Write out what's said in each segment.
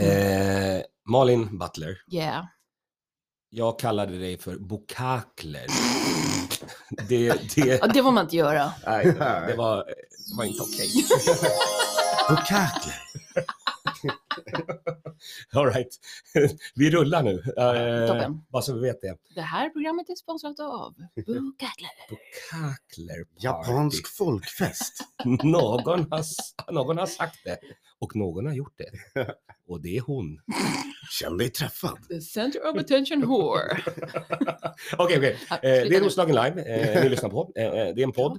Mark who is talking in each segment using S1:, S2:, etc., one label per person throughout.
S1: Mm.
S2: Eh, Malin Butler,
S1: Yeah.
S2: jag kallade dig för bokakler. det, det,
S1: Ja, det får man inte göra.
S2: nej, det, var, det, var, det var inte okej. Bukakler. All right. Vi rullar nu. Eh,
S1: Toppen.
S2: bara så vi vet det.
S1: Det här programmet är sponsrat av Bukakler.
S2: Bukakler party.
S3: Japansk folkfest.
S2: Någon har, s- någon har sagt det och någon har gjort det. Och det är hon.
S3: Känn dig träffad.
S1: The center of attention whore.
S2: Okej, okej.
S1: Ja,
S2: Eh, Det
S1: sluta
S2: är
S1: nu.
S2: Roslagen Live eh, ni lyssnar på. Eh, eh, Det är en podd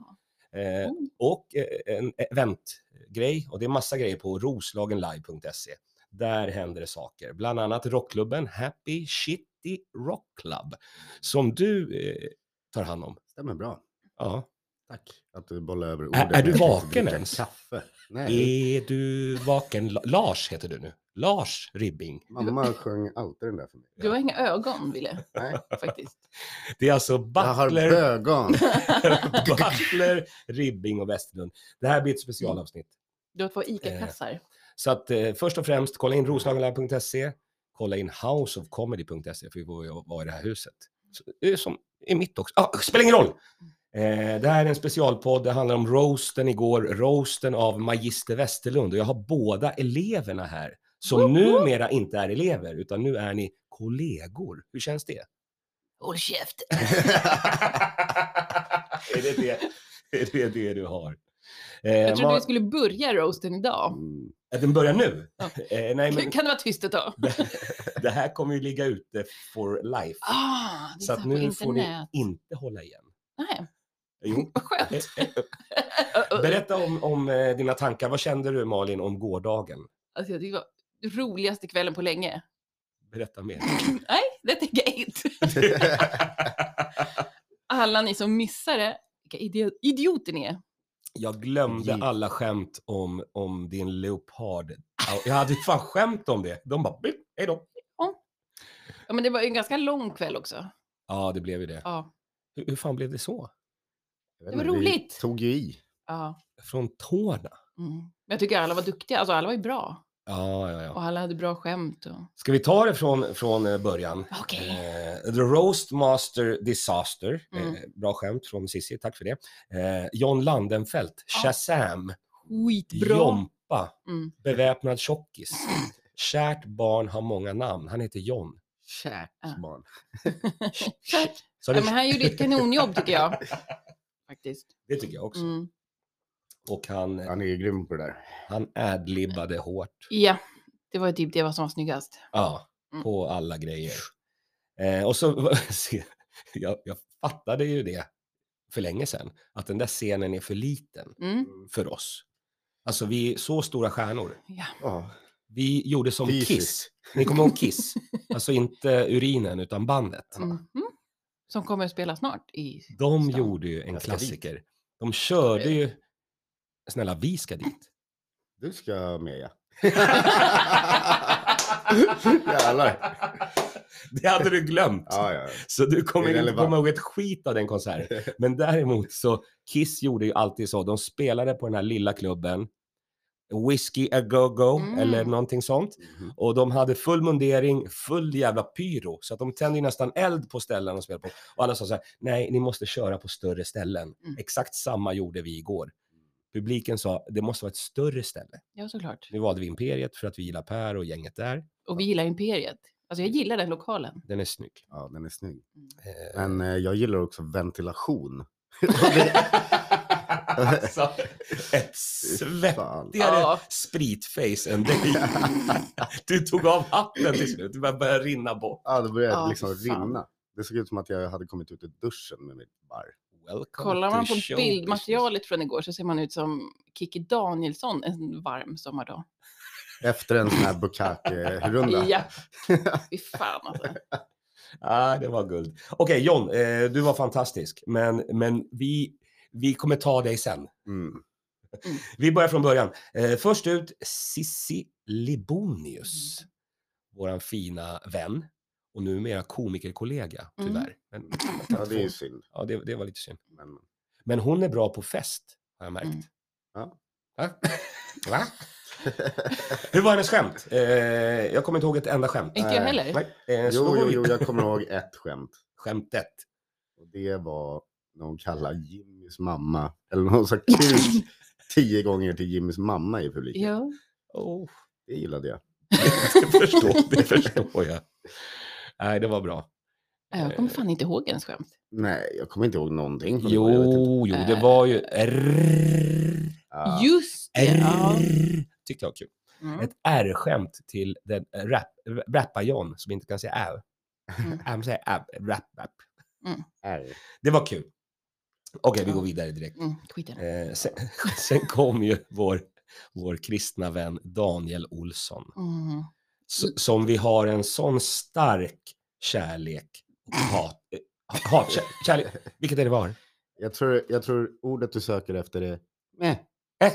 S1: Ja.
S2: eh,
S1: Mm.
S2: och eh, en eventgrej och det är massa grejer på roslagenlive.se. Där händer det saker, bland annat rockklubben Happy Shitty Rock Club som du eh, tar hand om.
S3: Stämmer bra.
S2: Ja.
S3: Tack att du bollar över orden.
S2: Är- är du
S3: Jag tänkte
S2: vaken
S3: dricka
S2: ens?
S3: Kaffe. Nej,
S2: Är du vaken? La- Lars heter du nu. Lars Ribbing.
S3: mamma sjöng alltid den där för mig.
S1: Du har inga ögon, Ville,
S3: Nej,
S1: faktiskt.
S2: Det är alltså
S3: jag har
S2: Butler
S3: bögon.
S2: Butler, Ribbing och Westerlund. Det här blir ett specialavsnitt.
S1: Du har
S2: Eh.
S1: två ICA-kassar.
S2: Så att eh, först och främst, kolla in roslagenlive.se, kolla in houseofcomedy.se, för vi får ju vara i det här huset. Så, det är som i mitt också. Ah, spelar ingen roll! Eh, det här är en specialpodd, det handlar om roasten igår, roasten av Magister Westerlund. Och jag har båda eleverna här,
S1: Woho!
S2: som numera inte är elever, utan nu är ni kollegor. Hur känns det?
S1: Håll käften.
S2: Eh, är, det det, är det det du har? Eh,
S1: Jag trodde
S2: Ma-
S1: vi skulle börja roasten idag.
S3: Mm.
S2: att den börjar nu?
S1: Ja.
S2: Eh, nej, men
S1: Kan det vara tyst ett tag?
S2: det här kommer ju ligga ute for life.
S1: Ah, det är
S2: så att nu
S1: på
S2: får ni
S1: internet.
S2: inte hålla igen.
S1: Nej,
S2: Jo. Eh,
S1: vad skönt.
S2: Berätta om, om eh, dina tankar. Vad kände du Malin om gårdagen?
S1: Alltså, jag tycker det var roligaste kvällen på länge.
S2: Berätta mer.
S1: Nej, det tänker jag inte. Alla ni som missar det, vilka idio- idioter ni är.
S2: Jag glömde
S3: Giv.
S2: alla skämt om, om din leopard. Jag hade fan skämt om det. De bara, "Bip, hej då.
S1: Ja, men det var ju en ganska lång kväll också.
S2: Ja, det blev ju det.
S1: Ja,
S2: Hur, hur fan blev det så?
S3: Jag vet
S1: Det var
S3: inte, vi
S1: roligt.
S3: tog ju i.
S1: ja.
S2: Från tårna?
S1: Mm. Men jag tycker alla var duktiga. Alltså alla var ju bra.
S2: Ja, ja, ja.
S1: Och alla hade bra skämt. Och...
S2: Ska vi ta det från, från eh, början?
S1: Okej.
S2: Eh, The Roastmaster Disaster.
S1: Mm.
S2: Eh, bra skämt från Cissi, tack för det. Eh, John Landenfelt, Shazam,
S1: Skitbra.
S2: Jompa,
S1: Mm.
S2: Beväpnad tjockis. Kärt barn har många namn, han heter John.
S3: Kärt
S1: Ja.
S3: barn.
S2: Så
S1: Ja,
S2: det,
S1: men han gjorde ett kanonjobb tycker jag. Faktiskt.
S2: det tycker jag också.
S1: Mm.
S2: Och han,
S3: Han är ju grym på det där.
S2: han adlibbade hårt.
S1: Ja, det var ju typ det var som var snyggast.
S2: Ja,
S1: Mm.
S2: på alla grejer. Eh, och så, se, jag, jag fattade ju det för länge sedan, att den där scenen är för liten.
S1: Mm.
S2: för oss. Alltså vi är så stora stjärnor.
S1: Ja.
S3: Ja,
S2: Vi gjorde som
S3: Fysiskt.
S2: Kiss. Ni kommer ihåg Kiss? Alltså inte urinen utan bandet.
S1: Mm. Som kommer att spela snart i...
S2: De
S1: Stan.
S2: gjorde ju en
S3: Jag ska dit.
S2: klassiker. De körde ju... Snälla, vi ska dit.
S3: du ska med ja. Jävlar.
S2: Det hade du glömt.
S3: Ja, ja.
S2: Så du kommer inte
S3: Irrelevant.
S2: komma ihåg ett skit av den konserten. Men däremot så, Kiss gjorde ju alltid så. De spelade på den här lilla klubben. Whiskey a go-go
S1: Mm.
S2: eller någonting sånt.
S3: Mhm.
S2: Och de hade full mundering, full jävla pyro. Så att de tände ju nästan eld på ställen de spelade på. Och alla sa så här, nej, ni måste köra på större ställen.
S1: Mm.
S2: Exakt samma gjorde vi igår. Publiken sa, det måste vara ett större ställe.
S1: Ja, såklart.
S2: Nu valde vi Imperiet för att vi gillar Per och gänget där.
S1: Och vi gillar Imperiet. Alltså jag gillar den lokalen. Mm.
S2: Den är snygg.
S3: Ja, den är snygg.
S2: Eh,
S3: Men eh, jag gillar också ventilation. Och det-
S2: alltså, ett svettigare
S3: Fan.
S1: Ja.
S2: spritface än dig. du tog av hatten till slut, det bara började rinna bort.
S3: Ja, det började
S1: Ja,
S3: liksom
S1: fy fan.
S3: rinna. Det såg ut som att jag hade kommit ut ur duschen med mitt barr.
S2: Welcome
S1: Kollar
S2: to
S1: man
S2: the show,
S1: på bildmaterialet från igår så ser man ut som Kikki Danielsson en varm sommardag.
S3: Efter en sån här bukake-runda.
S1: Ja, fy fan alltså.
S2: Ja, det var guld. Okej, John, eh, du var fantastisk, men, men vi, vi kommer ta dig sen.
S3: Mm.
S2: Vi börjar från början. Eh, först ut, Sissi Libonius,
S3: Mm.
S2: våran fina vän och numera komikerkollega,
S3: Mm.
S2: tyvärr. Men,
S3: Ja, det är ju synd.
S2: ja, det, det var lite synd.
S3: Men... Mm.
S2: Men hon är bra på fest, har jag märkt.
S1: Mm.
S3: Ja.
S2: Va? Va? Hur var hennes skämt? Eh, jag kommer inte ihåg ett enda skämt.
S1: Inte jag
S3: Nej.
S1: heller.
S2: Nej. Eh, så
S3: Eh. Jo,
S2: då går
S3: jo,
S2: vi-
S3: jo, jag kommer ihåg ett skämt.
S2: Skämtet.
S3: Och det var när hon kallade Jimmys mamma, eller när hon sa kuk tio gånger till Jimmys mamma i publiken.
S1: Ja.
S2: Oh.
S3: Det gillade jag.
S2: Det, förstår, det förstår jag. Nej, det var bra.
S1: Nej, Jag kommer fan inte ihåg ens skämt.
S3: Nej, jag kommer inte ihåg någonting. från det, jag vet inte.
S2: Jo, jo, det var ju... Rrrr,
S3: Ah,
S1: Just det. Eh. Ja.
S2: rrrr, tyckte jag var kul.
S1: Mm.
S2: Ett R-skämt till den eh, rap, rappa-John som inte kan säga ä.
S1: Mm.
S2: Han säger ä, rap, rap.
S3: R.
S2: Det var kul. Okej, vi
S1: Ja.
S2: går vidare direkt.
S1: Mm. Skit i det.
S2: Eh, sen, sen kom ju vår, vår kristna vän Daniel Olsson.
S1: Mm.
S2: s- som vi har en sån stark kärlek och hat. eh, hat kär, kärlek, vilket är det var?
S3: Jag tror, jag tror ordet du söker efter är meh.
S2: Eh.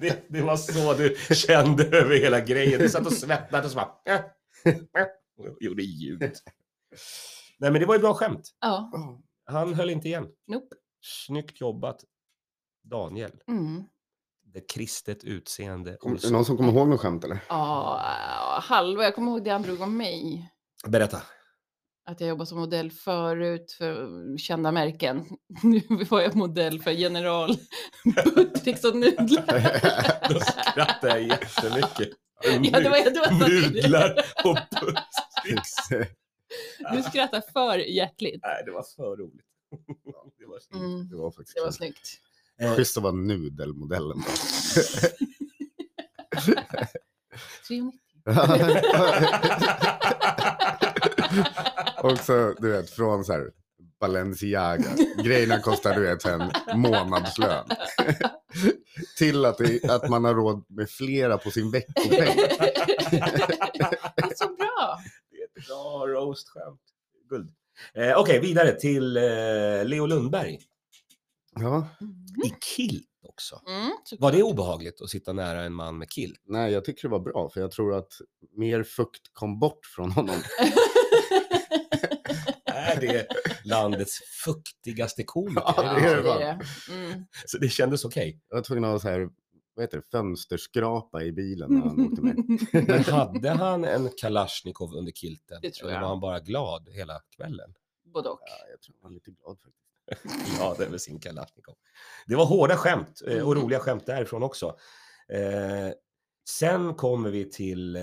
S2: det, det var så du kände över hela grejen. Du satt och svettades och så bara... eh, eh, och gjorde ljud. Nej, men det var ju bra skämt.
S1: Ja.
S3: Oh.
S2: Han höll inte igen.
S1: Nope.
S2: Snyggt jobbat, Daniel.
S1: Mm.
S2: Det kristet utseende.
S3: Kom, är det
S2: Olsson.
S3: någon som kommer ihåg något skämt eller?
S1: Ja, halva. Jag kommer ihåg det han drog om mig.
S2: Berätta.
S1: Att jag jobbade som modell förut för kända märken. Nu var jag modell för General Buttericks och nudlar.
S2: Då skrattade jag jättemycket.
S1: Ja, det var, det var
S2: Nudlar och pussdicks.
S1: Du skrattar för hjärtligt.
S2: Nej, det var för roligt. Det var så-
S1: Mm.
S3: Det var faktiskt
S1: Det var
S3: kul.
S1: snyggt.
S2: Eh,
S3: Schysst att vara nudelmodellen. då.
S1: 390.
S3: Också, du vet, från så här Balenciaga. Grejerna kostar du vet en månadslön. Till att, det, att man har råd med flera på sin veckopeng.
S1: Det är så bra.
S2: Det är ett bra roast-skämt. Guld. Eh, Okej, vidare till eh, Leo Lundberg.
S3: Ja,
S2: I kilt också.
S1: Mm, så-
S2: Var det obehagligt att sitta nära en man med kilt?
S3: nej, jag tycker det var bra för jag tror att mer fukt kom bort från honom.
S2: Är det landets fuktigaste komiker?
S3: Ja,
S1: Ja,
S3: det är
S1: det
S3: det fan.
S1: är det. Mm.
S2: Så det kändes okej.
S3: Jag var tvungen att ha så här, vad heter det, fönsterskrapa i bilen när han åkte med.
S2: Men hade han en Kalashnikov under kilten?
S1: Det tror
S2: Eller
S1: jag.
S2: var han bara glad hela kvällen?
S1: Både och.
S3: Ja, jag tror han var lite glad faktiskt.
S2: glad över sin Kalashnikov. Det var hårda skämt eh, och
S1: Mm.
S2: roliga skämt därifrån också. Eh, sen kommer vi till eh,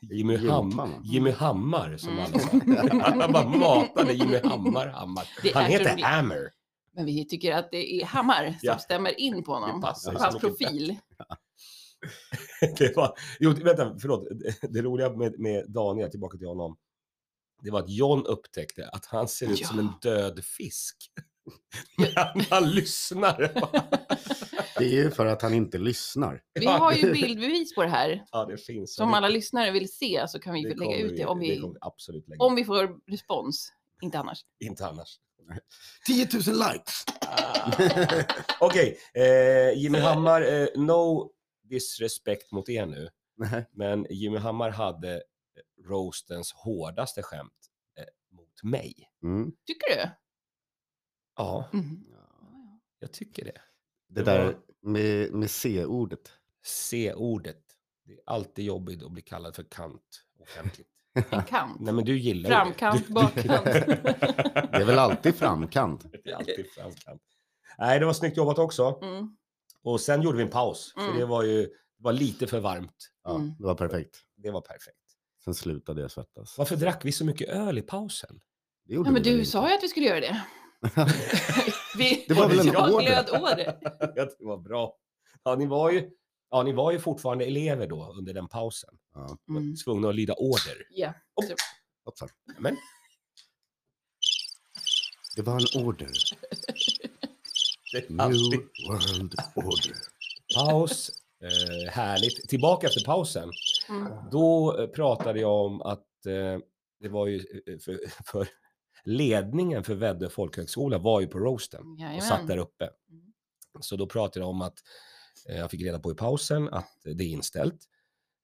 S2: Jimmy, Ham-
S3: Gympan, va?
S2: Jimmy Hammar som
S1: Mm.
S2: alla sa. Alla bara matade Jimmy Hammar Hammar.
S1: Det
S2: Han
S1: är
S2: heter
S1: roligt.
S2: Hammer.
S1: Men vi tycker att det är Hammar som
S2: Ja.
S1: stämmer in på
S2: Det
S1: honom.
S2: passar
S1: På
S2: så
S1: hans
S2: mycket
S1: profil.
S2: Det var, jo, vänta, förlåt. Det roliga med, med Daniel, tillbaka till honom. Det var att John upptäckte att han ser ut som en
S1: Ja.
S2: död fisk. Men han lyssnar.
S3: Det är ju för att han inte lyssnar.
S1: Vi har ju bildbevis på det här.
S2: Ja, det finns.
S1: Som alla lyssnare vill se så kan vi
S2: Det
S1: lägga
S2: kommer
S1: ut det om vi,
S2: kommer vi absolut lägga
S1: om vi får respons. Inte annars.
S2: Inte annars.
S3: 10 000 likes!
S1: Ah.
S2: Okej, eh, Jimmy Hammar, eh, no disrespect mot er nu,
S3: Nej,
S2: men Jimmy Hammar hade eh, roastens hårdaste skämt eh, mot mig.
S3: mm.
S1: Tycker du?
S2: Ja,
S1: Mm.
S3: Ja.
S2: jag tycker det.
S3: Det
S2: Det
S3: där
S2: var-
S3: med, med C-ordet.
S2: C-ordet. Det är alltid jobbigt att bli kallad för kant offentligt.
S1: En kant.
S2: Nej, men du gillar ju det.
S1: Framkant,
S2: Du-
S1: bakkant.
S3: Det är väl alltid framkant.
S2: Det är alltid framkant. Nej, det var snyggt jobbat också.
S1: Mm.
S2: Och sen gjorde vi en paus, för
S1: Mm.
S2: det var ju det var lite för varmt.
S3: Ja,
S1: Mm.
S3: Det var perfekt.
S2: Det var perfekt.
S3: Sen slutade jag svettas.
S2: Varför drack vi så mycket öl i pausen?
S3: Det gjorde
S1: Ja, men
S3: vi väl
S1: du
S3: inte.
S1: sa ju att vi skulle göra det. Vi,
S3: Det var väl en
S1: jag
S3: order?
S1: glöd order.
S2: det var bra. Ja, ni var ju, ja, ni var ju fortfarande elever då under den pausen.
S3: Ja,
S1: Mm.
S2: Tvungna att lyda order.
S1: Ja.
S3: hoppsan.
S2: Men
S3: Det var en order.
S2: det är
S3: New
S2: alltid
S3: World Order.
S2: paus. Eh, härligt. Tillbaka efter pausen.
S1: Mm.
S2: Då eh, pratade jag om att eh, det var ju eh, för, för ledningen för Väddö folkhögskola var ju på roasten. och satt där
S1: Jajamän.
S2: uppe. Så då pratade jag om att eh, jag fick reda på i pausen att det är inställt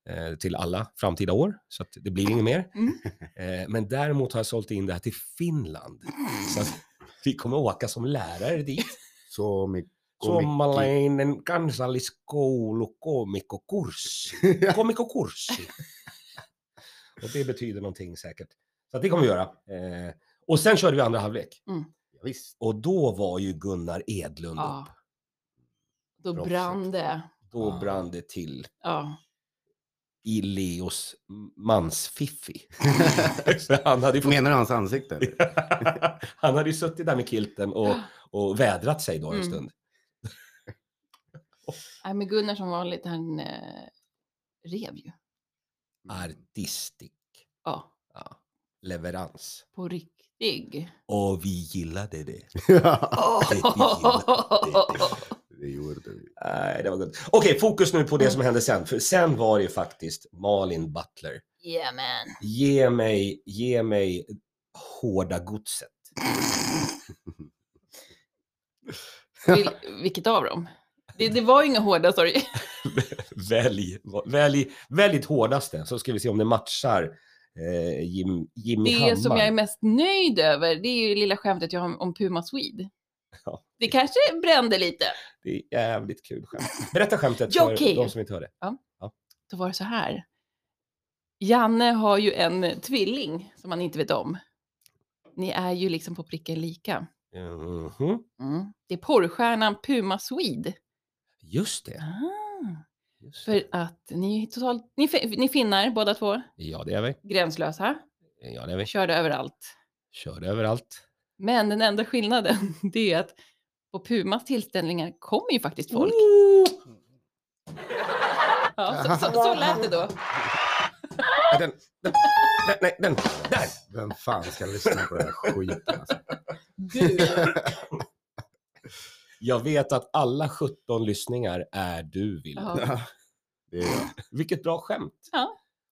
S2: eh, till alla framtida år, så att det blir inget mer.
S1: Mm.
S2: Eh, men däremot har jag sålt in det här till Finland, så att vi kommer åka som lärare dit.
S3: Så mycket
S2: Suomalainen kansalliskoulukomikkokurssi. Komikkokurssi. Och det betyder någonting säkert. Så att det kommer vi göra. Eh, och sen körde vi andra halvlek.
S3: Ja, visst.
S2: Och då var ju Gunnar Edlund
S1: Ja.
S2: upp.
S1: Då
S3: Proffsigt.
S1: brann det.
S2: Då
S3: Ah.
S2: brann det till
S1: Ja.
S2: i Leos mansfiffi. Så han hade ju fått
S3: Menar du hans ansikte? eller?
S2: han hade ju suttit där med kilten och, och vädrat sig då en
S1: Mm.
S2: stund.
S1: Nej, men Gunnar som vanligt, han eh, rev ju.
S2: Artistik
S1: Ja,
S2: leverans.
S1: på riktigt.
S2: Och vi gillade det.
S3: Ja,
S2: Det gillade det.
S3: det gjorde vi.
S2: Nej, det var gott. Okej, fokus nu på
S1: Mm.
S2: det som hände sen. För sen var det ju faktiskt Malin Butler.
S1: Yeah man.
S2: Ge mig, ge mig hårda godset.
S1: Vil, vilket av dem? Det, det var ju inga hårda, sorry.
S2: Välj, välj, välj ditt hårdaste så ska vi se om det matchar eh, Jim, Jimmy
S1: Det
S2: Hammar.
S1: som jag är mest nöjd över, det är ju lilla skämtet jag har om Puma Swede.
S2: Ja.
S1: Det kanske brände lite.
S2: Det är jävligt kul skämt. Berätta skämtet för
S1: Jockey.
S2: de som inte hörde.
S1: Då var det så här. Janne har ju en tvilling som han inte vet om. Ni är ju liksom på pricken lika.
S2: Mhm.
S1: Mm. Det är porrstjärnan Puma Swede.
S2: Just det.
S1: Ah,
S2: Just det.
S1: för att ni är totalt, ni, fi- ni finnar båda två,
S2: Ja, det är vi.
S1: gränslösa,
S2: Ja, det är vi.
S1: körda överallt.
S2: Körde överallt.
S1: Men den enda skillnaden, det är att på Pumas tillställningar kommer ju faktiskt folk.
S2: Ooh!
S1: Ja, så, så, så lät det då.
S2: Ja, Den, den, den, nej, den, där!
S3: Vem fan ska lyssna på den här skiten? Alltså?
S1: Du.
S2: Jag vet att alla 17 lyssningar är du, Wille.
S1: Ja,
S3: Det är jag.
S2: Vilket bra skämt.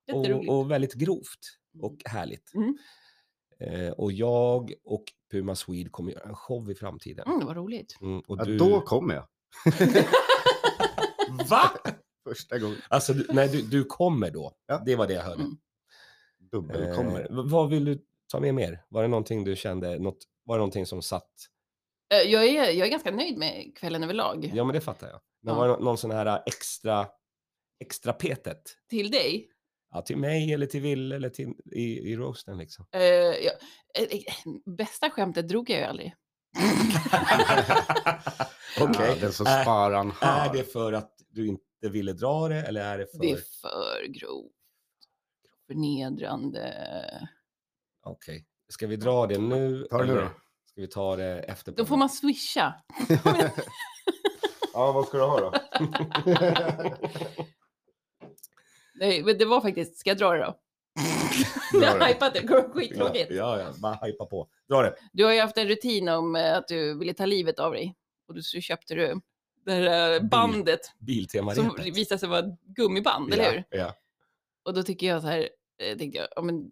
S1: jätteroligt.
S2: Och, och väldigt grovt och härligt.
S1: Mm.
S2: Eh, och jag och Puma Swede kommer göra en show i framtiden.
S1: Mm, det var roligt.
S2: Mm, och
S3: Ja,
S2: du...
S3: då kommer jag.
S2: Va?
S3: Första gången.
S2: Alltså, du, nej, du, du kommer då.
S3: Ja.
S2: Det var det jag hörde.
S1: Mm.
S3: Dubbelkommer.
S2: Eh, v- vad vill du ta med mer? Var det någonting du kände, något, var det någonting som satt?
S1: Eh, Jag är, jag är ganska nöjd med kvällen överlag.
S2: Ja, men det fattar jag. Men
S1: Ja.
S2: var det nå- någon sån här äh, extra, extra petet?
S1: Till dig,
S2: Ja, till mig eller till Ville eller till, i, i roasten liksom.
S1: Eh, ja, eh, eh, bästa skämtet drog jag ju aldrig.
S2: Okej.
S3: Ja, den som
S2: Är-
S3: sparar han
S2: Är det
S3: har.
S2: för att du inte ville dra det eller är det för...
S1: Ah. Det är för grovt. Förnedrande.
S2: Okej. Ska vi dra det nu?
S3: Ta det nu
S2: eller
S3: då.
S2: Ska vi ta det efter?
S1: Då får man swisha.
S3: Ja, vad ska du ha då?
S1: Nej, men det var faktiskt, ska jag dra det då? Jag har hajpat det, det kommer bli skittråkigt.
S2: Ja, ja, bara hypa på. Dra det.
S1: Du har ju haft en rutin om eh, att du ville ta livet av dig. Och du- så köpte du det här
S2: Bil-
S1: eh, bandet som
S2: Biltemarepet.
S1: visade sig vara ett gummiband, eller hur?
S2: Ja, ja.
S1: Och då tycker jag så här, eh, tänkte jag, ja, men,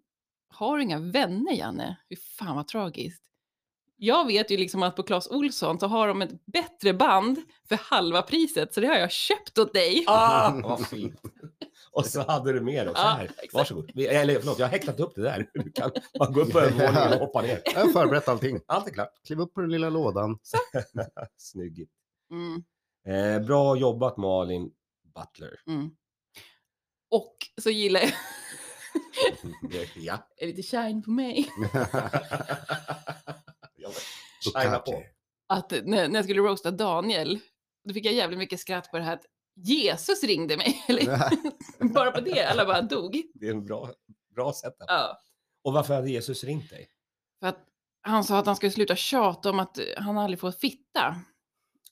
S1: har du inga vänner Janne? Hur fan vad tragiskt. Jag vet ju liksom att på Clas Olsson så har de ett bättre band för halva priset, så det har jag köpt åt dig.
S2: Ah, vad fint. Och så hade du med också.
S1: Ja,
S2: här.
S1: Ah, exakt.
S2: Varsågod. Vi- Eller förlåt, jag har häktat upp det där. Du kan bara gå upp på övervåningen och hoppa ner.
S3: Jag har förberett allting.
S2: Allt är klart.
S3: Kliv upp på den lilla lådan.
S2: Snyggt.
S1: Mm,
S2: Eh, bra jobbat Malin Butler.
S1: mm. Och så gillar jag,
S2: ja.
S1: är lite shine på mig,
S2: Jag vet. Shina på.
S1: att när, när jag skulle roasta Daniel, då fick jag jävligt mycket skratt på det här att Jesus ringde mig, eller bara på det, alla bara dog.
S2: Det är en bra, bra setup.
S1: Ja.
S2: Och varför hade Jesus ringt dig?
S1: För att han sa att han skulle sluta tjata om att eh, han aldrig får fitta.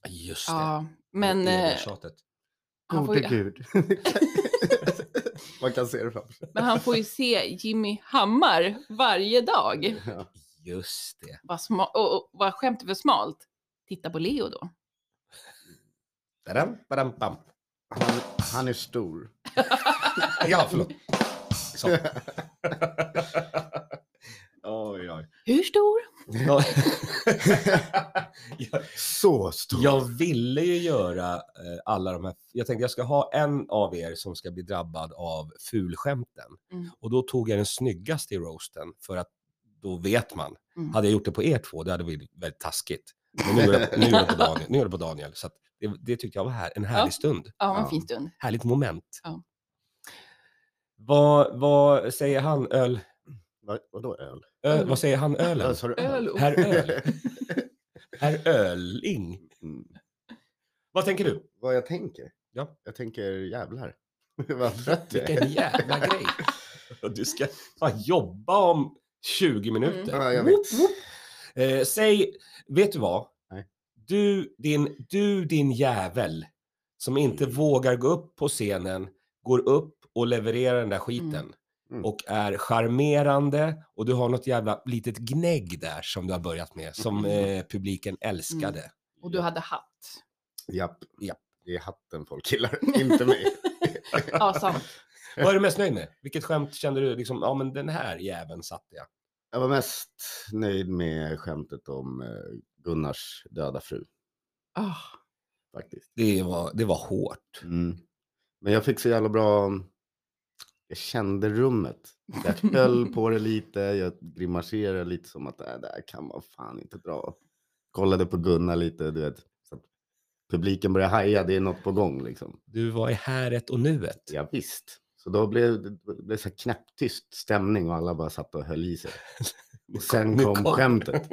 S2: Just
S1: Ja, men eh,
S2: Tjatet.
S1: han, får
S3: Gode
S1: ju,
S3: gud. Man kan se det framför sig.
S1: men han får ju se Jimmy Hammar varje dag.
S3: Ja.
S2: Just det.
S1: Vad, sma- och, och, vad skämtet för smalt. Titta på Leo då.
S2: Badam, badam, bam.
S3: Han, han är stor.
S2: Ja, förlåt. Så. oj, oj.
S1: Hur stor?
S2: Ja. jag,
S3: Så stor.
S2: jag ville ju göra eh, alla de här. Jag tänkte jag ska ha en av er som ska bli drabbad av fulskämten.
S1: Mm.
S2: Och då tog jag den snyggaste i roasten för att då vet man.
S1: Mm.
S2: Hade jag gjort det på er två, det hade blivit väldigt taskigt. Men nu är det, nu är det, på, Daniel, nu är det på Daniel. Så att det, det tyckte jag var här, en härlig
S1: Ja.
S2: stund.
S1: Ja, vad en
S3: Ja.
S1: fin stund.
S2: Härligt moment.
S1: Ja.
S2: Vad, vad säger han öl?
S3: Vad, vadå öl?
S2: Ö,
S1: Öl. Alltså,
S2: Vad säger han ölen?
S3: Sa du
S1: Öl och...
S2: Herr Öl. Herr Öling.
S3: Mm.
S2: Vad tänker du?
S3: Vad jag tänker?
S2: Ja.
S3: Jag tänker jävlar. Vad trött jag är.
S2: Vilken jävla grej. Du ska fan jobba om 20 minuter.
S3: Mm. Ja, jag vet.
S2: Woop, woop. Eh, säg, vet du vad?
S3: Nej.
S2: Du din, du, din jävel som inte
S3: Mm.
S2: vågar gå upp på scenen, går upp och levererar den där skiten.
S3: Mm.
S2: Och är charmerande och du har något jävla litet gnägg där som du har börjat med, som
S3: Mm.
S2: eh, publiken älskade.
S1: Och du hade hatt.
S3: Japp.
S2: Japp.
S3: Det är hatten folk gillar, inte mig.
S1: Ja, sant.
S2: Vad är du mest nöjd med? Vilket skämt kände du liksom, ja men den här jäveln satte jag.
S3: Jag var mest nöjd med skämtet om eh, Gunnars döda fru.
S1: Ah,
S3: faktiskt.
S2: Det var, det var hårt.
S3: Mm. Men jag fick så jävla bra... Jag kände rummet. Jag höll på det lite, jag grimaserade lite som att äh, det här kan man fan inte dra. Kollade på Gunnar lite, du vet. Så att publiken började haja, det är något på gång liksom.
S2: Du var i häret och nuet.
S3: Ja, visst. Så då blev det det blev så här knäpptyst stämning och alla bara satt och höll i sig. Och sen
S2: Nu
S3: kom skämtet.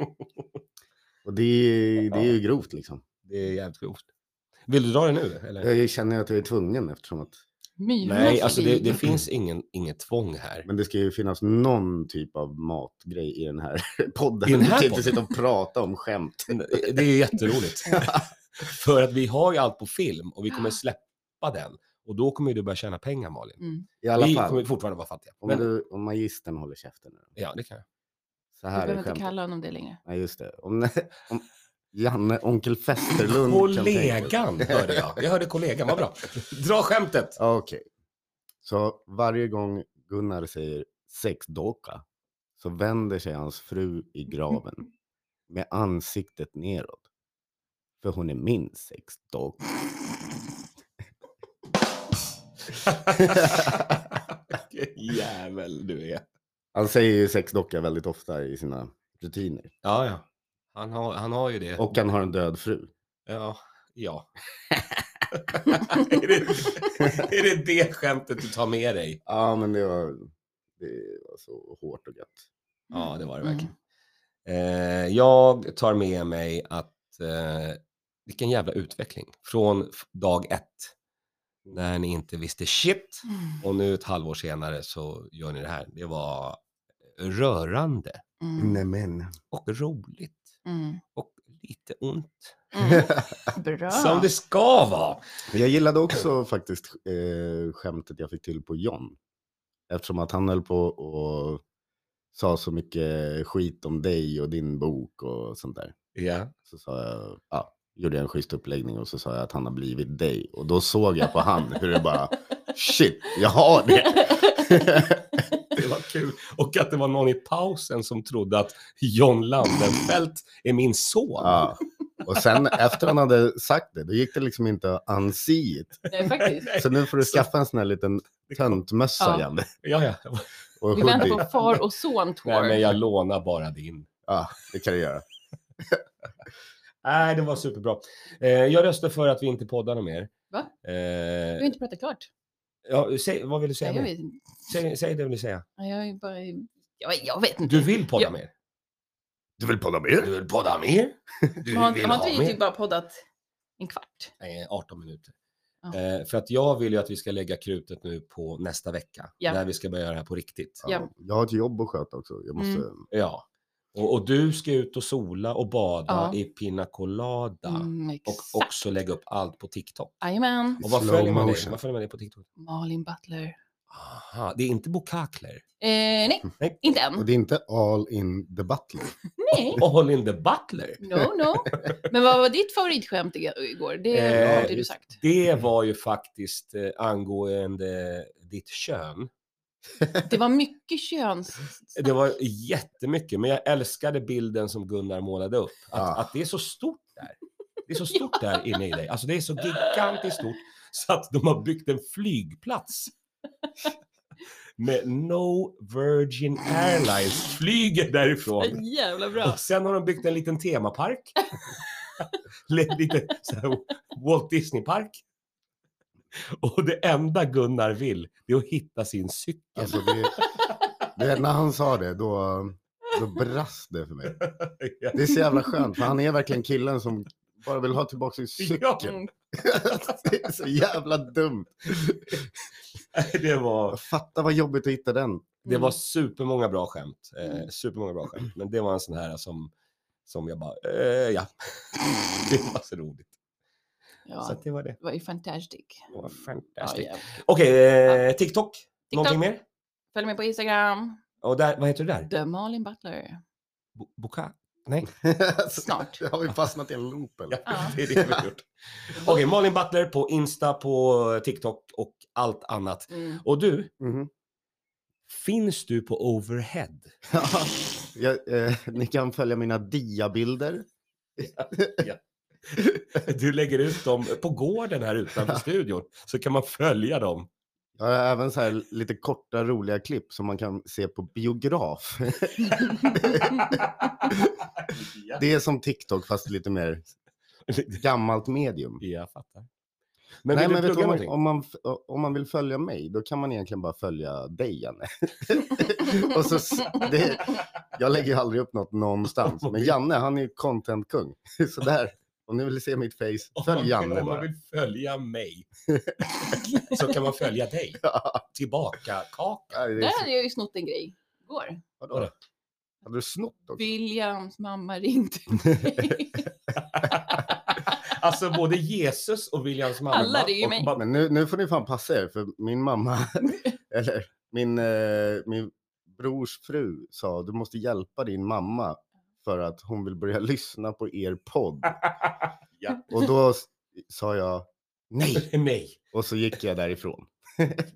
S3: Och det är, det är ju grovt liksom.
S2: Det är jävligt grovt. Vill du dra det nu? Eller?
S3: Jag känner att jag är tvungen eftersom att
S1: myrorna
S2: Nej, alltså det,
S1: flyger.
S2: det finns ingen, inget tvång här.
S3: Men det ska ju finnas någon typ av matgrej i den här podden.
S2: I den här
S3: vi kan
S2: podden?
S3: inte sitta och prata om skämt.
S2: eh, Det är jätteroligt. För att vi har ju allt på film och vi kommer
S1: Ja.
S2: släppa den. Och då kommer ju du börja tjäna pengar Malin.
S1: Mm.
S3: I alla
S2: vi
S3: fall,
S2: kommer fortfarande vara fattiga.
S3: om,
S2: Men,
S3: du, om magistern håller käften nu.
S2: ja, det kan jag.
S3: Så
S1: Du
S3: här
S1: behöver
S3: är
S1: inte
S3: skämtet.
S1: kalla honom det längre.
S3: Nej, just det. Om, om Janne, onkel Festerlund kan tänka
S2: Kollegan
S3: sig.
S2: hörde jag. Jag hörde kollegan, vad bra. Dra skämtet.
S3: Ja, Okej. Så varje gång Gunnar säger sexdocka så vänder sig hans fru i graven med ansiktet neråt. För hon är min sexdocka.
S2: Vilken jävel du är.
S3: Han säger ju sexdocka väldigt ofta i sina rutiner.
S2: Ja, ja. Han har, han har ju det.
S3: Och han har en död fru.
S2: Ja. ja. är, det, är det det skämtet du tar med dig?
S3: Ja, men det var, det var så hårt och gött.
S2: Ja, det var det verkligen. Eh, jag tar med mig att eh, vilken jävla utveckling från f- dag ett när ni inte visste shit
S1: Mm.
S2: och nu ett halvår senare så gör ni det här. Det var rörande
S1: Mm.
S3: men.
S2: och roligt
S1: Mm.
S2: och lite ont
S1: Mm. Bra.
S2: som det ska vara.
S3: Jag gillade också faktiskt eh, skämtet jag fick till på John. Eftersom att han höll på och sa så mycket skit om dig och din bok och sånt där.
S2: Ja.
S3: Så sa jag, ja, gjorde jag en schysst uppläggning och så sa jag att han har blivit dig. Och då såg jag på han hur det bara, shit, jag har det.
S2: Det var kul. Och att det var någon i pausen som trodde att John Landenfelt är min son.
S3: Ja. Och sen efter han hade sagt det, då gick det liksom inte att anse it.
S1: Nej, faktiskt.
S2: Nej,
S3: Så nu får du
S2: Så-
S3: skaffa en sån här liten töntmössa,
S1: Ja.
S3: Janne.
S2: ja, ja.
S3: Och
S1: Vi väntar
S3: hoodie.
S1: på far och son tour.
S2: Nej, men jag lånar bara din.
S3: Ja, det kan du göra.
S2: Nej, det var superbra. Eh, jag röstar för att vi inte poddar något mer.
S1: Va? Du har
S2: Eh,
S1: inte pratat klart.
S2: ja, säg, vad vill du säga?
S1: Nej, jag,
S2: mer?
S1: vet, inte.
S2: Säg, säg det du vill säga.
S1: Nej, jag, är bara, jag, jag vet inte.
S2: Du vill podda
S1: Ja.
S2: mer?
S3: Du vill podda mer?
S2: vill podda mer? Du
S1: har, har inte vi typ bara poddat en kvart?
S2: Eh, 18 minuter.
S1: Ja.
S2: Eh, för att jag vill ju att vi ska lägga krutet nu på nästa vecka.
S1: Ja.
S2: Där vi ska börja göra det här på riktigt.
S1: Ja.
S3: Jag har ett jobb att sköta också. Jag måste...
S2: Ja. Och, och du ska ut och sola och bada
S1: Ja.
S2: i Pina Colada.
S1: Mm,
S2: Och
S1: exakt.
S2: också lägga upp allt på TikTok.
S1: Jajamän.
S2: Och vad
S3: Slow
S2: följer, man dig?
S3: motion.
S2: vad följer man dig på TikTok?
S1: Malin Butler. Eh,
S2: Aha, det är inte Bokakler.
S1: nej.
S2: Mm. Nej.
S1: inte än.
S3: Och det är inte all in the liksom. butler.
S1: Nej.
S2: All in the Butler.
S1: No, no. Men vad var ditt favoritskämt ig- igår? Det
S2: Eh,
S1: har du
S3: just-
S1: sagt.
S2: Det var ju faktiskt eh, angående ditt kön.
S1: Det var mycket köns...
S2: Det var jättemycket, men jag älskade bilden som Gunnar målade upp. Att,
S3: Ah.
S2: att det är så stort där. Det är så stort där inne i dig. Alltså det är så gigantiskt stort så att de har byggt en flygplats. Med No Virgin Airlines flyger därifrån.
S1: Jävla bra.
S2: Och sen har de byggt en liten temapark. Lite så här Walt Disney-park. Och det enda Gunnar vill, det är att hitta sin cykel.
S3: Alltså, det, du vet, när han sa det, då, då brast det för mig. Det är så jävla skönt, för han är verkligen killen som bara vill ha tillbaka sin cykel.
S1: Mm.
S3: Det är så jävla dumt.
S2: det var...
S3: Fatta vad jobbigt att hitta den.
S2: Det var supermånga bra skämt. Eh,
S1: Mm.
S2: supermånga bra skämt. Men det var en sån här som, som jag bara, eh, ja. det var så roligt. Så
S1: Ja,
S2: att det var det.
S1: det var ju fantastiskt.
S2: det var
S1: Ja,
S2: fantastiskt.
S1: ja.
S2: Okej, eh, TikTok. Någonting
S1: TikTok,
S2: mer?
S1: följ mig på Instagram.
S2: Och där, vad heter du där?
S1: The Malin Butler.
S2: Bo- Boka? Alltså,
S1: Snart.
S3: Har vi fastnat i en loop eller?
S2: Ja,
S1: Ja.
S2: det är det vi har gjort. Okej, Malin Butler på Insta, på TikTok och allt annat.
S1: Mm.
S2: Och du,
S3: Mhm.
S2: finns du på Overhead?
S3: Ja, jag, eh, ni kan följa mina diabilder.
S2: Du lägger ut dem på gården här utanför studion, så kan man följa dem.
S3: Jag har även så här lite korta roliga klipp som man kan se på biograf.
S2: ja.
S3: Det är som TikTok fast lite mer gammalt medium.
S2: Jag fattar. Men
S3: Nej,
S2: vill
S3: men
S2: du
S3: vet du,
S2: plugga
S3: om, man,
S2: någonting?
S3: om, man, f- om man vill följa mig, då kan man egentligen bara följa dig, Janne. och så, s- det, jag lägger ju aldrig upp något någonstans, men Janne han är ju contentkung. så där, om ni vill se mitt face,
S2: Om man
S3: följ
S2: vill-
S3: Janne
S2: Om man
S3: bara.
S2: vill följa mig så kan man följa dig. Tillbaka kaka.
S3: Nej, det är
S1: Där
S3: så,
S1: hade jag ju snott en grej igår.
S3: vadå? Hade du snott också?
S1: Williams mamma ringde mig.
S2: Alltså både Jesus och Williams mamma.
S1: Alla ringer
S2: och
S1: mig.
S2: ba-
S3: Men nu, nu får ni fan passa er, för min mamma, eller min, eh, min brors fru sa du måste hjälpa din mamma för att hon vill börja lyssna på er podd.
S2: Ja.
S3: Och då s- sa jag nej
S2: Nej,
S3: och så gick jag därifrån.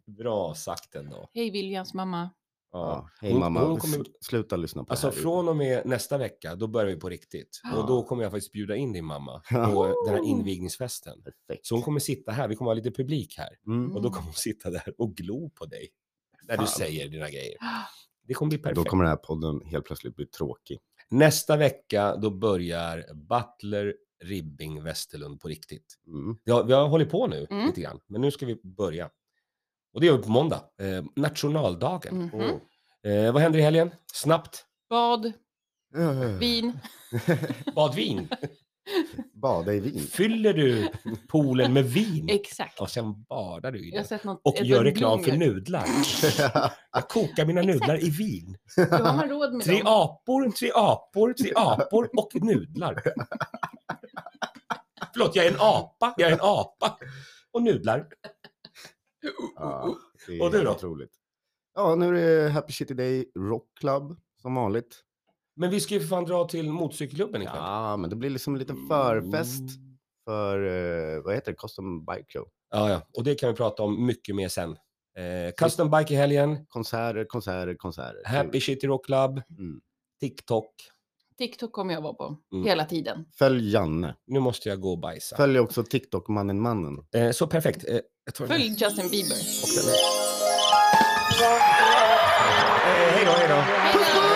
S2: bra sagt ändå.
S1: Hej Williams mamma.
S2: Ja.
S3: Ja, hej
S2: Hon-
S3: mamma,
S2: hon kommer-
S3: S- sluta lyssna på
S2: Alltså
S3: det här.
S2: från och med nästa vecka, då börjar vi på riktigt.
S1: Ja. Oh.
S2: Och då kommer jag faktiskt bjuda in din mamma
S3: Ja.
S2: på den här invigningsfesten.
S3: Perfekt.
S2: Så hon kommer sitta här, vi kommer ha lite publik här.
S3: Mm.
S2: Och då kommer hon sitta där och glo på dig. När du
S3: Fan.
S2: säger dina grejer. Det kommer bli
S3: Då
S2: perfekt.
S3: kommer den här podden helt plötsligt bli tråkig.
S2: Nästa vecka då börjar Butler, Ribbing, Westerlund på riktigt.
S3: Mm.
S2: Ja, vi har hållit på nu
S1: Mm.
S2: lite grann, men nu ska vi börja. Och det gör vi på måndag, eh, nationaldagen.
S1: Mhm.
S3: Åh.
S2: Eh, vad händer i helgen? Snabbt.
S1: Bad,
S3: Eh,
S2: Mm.
S1: vin.
S2: Badvin.
S1: Mm.
S3: Bada i vin.
S2: Fyller du poolen med vin
S1: Exakt.
S2: och sen badar du i
S1: Jag har
S2: det.
S1: sett något,
S2: Och
S1: ett
S2: gör reklam för
S1: blommor.
S2: nudlar. Jag kokar mina nudlar i vin.
S1: Då har man råd med
S2: Tre
S1: dem.
S2: apor, tre apor, tre apor och nudlar. Förlåt, jag är en apa, jag är en apa och nudlar.
S3: Ja, det är
S2: Oh, Och du
S3: helt
S2: då?
S3: Otroligt. Ja, nu är det Happy City Day Rock Club som vanligt.
S2: Men vi ska ju för fan dra till motorcykelklubben ikväll.
S3: Ja, men det blir liksom en liten förfest
S2: Mm.
S3: för, eh, vad heter det, Custom Bike Show.
S2: Ja, ja, och det kan vi prata om mycket mer sen. Eh, custom bike i helgen,
S3: Konserter, konserter, konserter.
S2: Happy City Rock Club,
S3: Mm.
S2: TikTok.
S1: TikTok kommer jag vara på
S2: Mm.
S1: hela tiden.
S3: Följ Janne.
S2: Nu måste jag gå och bajsa.
S3: Följ också TikTok, mannen, mannen.
S2: Eh, så perfekt. Eh, jag tar den här.
S1: Följ Justin Bieber.
S2: Eh, hej då, hej då.
S1: Hej då!
S2: Mm.